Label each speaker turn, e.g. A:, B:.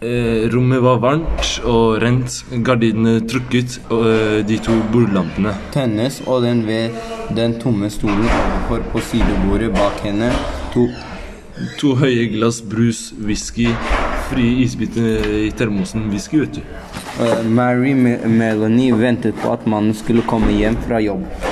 A: Eh, rommet var varmt og rent. Gardinene trukket, og eh, de to bordlampene.
B: tennes, og den ved den tomme stolen overfor på sidebordet bak henne to
A: To høye glass brus, whisky, frie isbiter i termosen. Whisky, vet du.
B: eh, Mary Me Melanie ventet på at mannen skulle komme hjem fra jobb.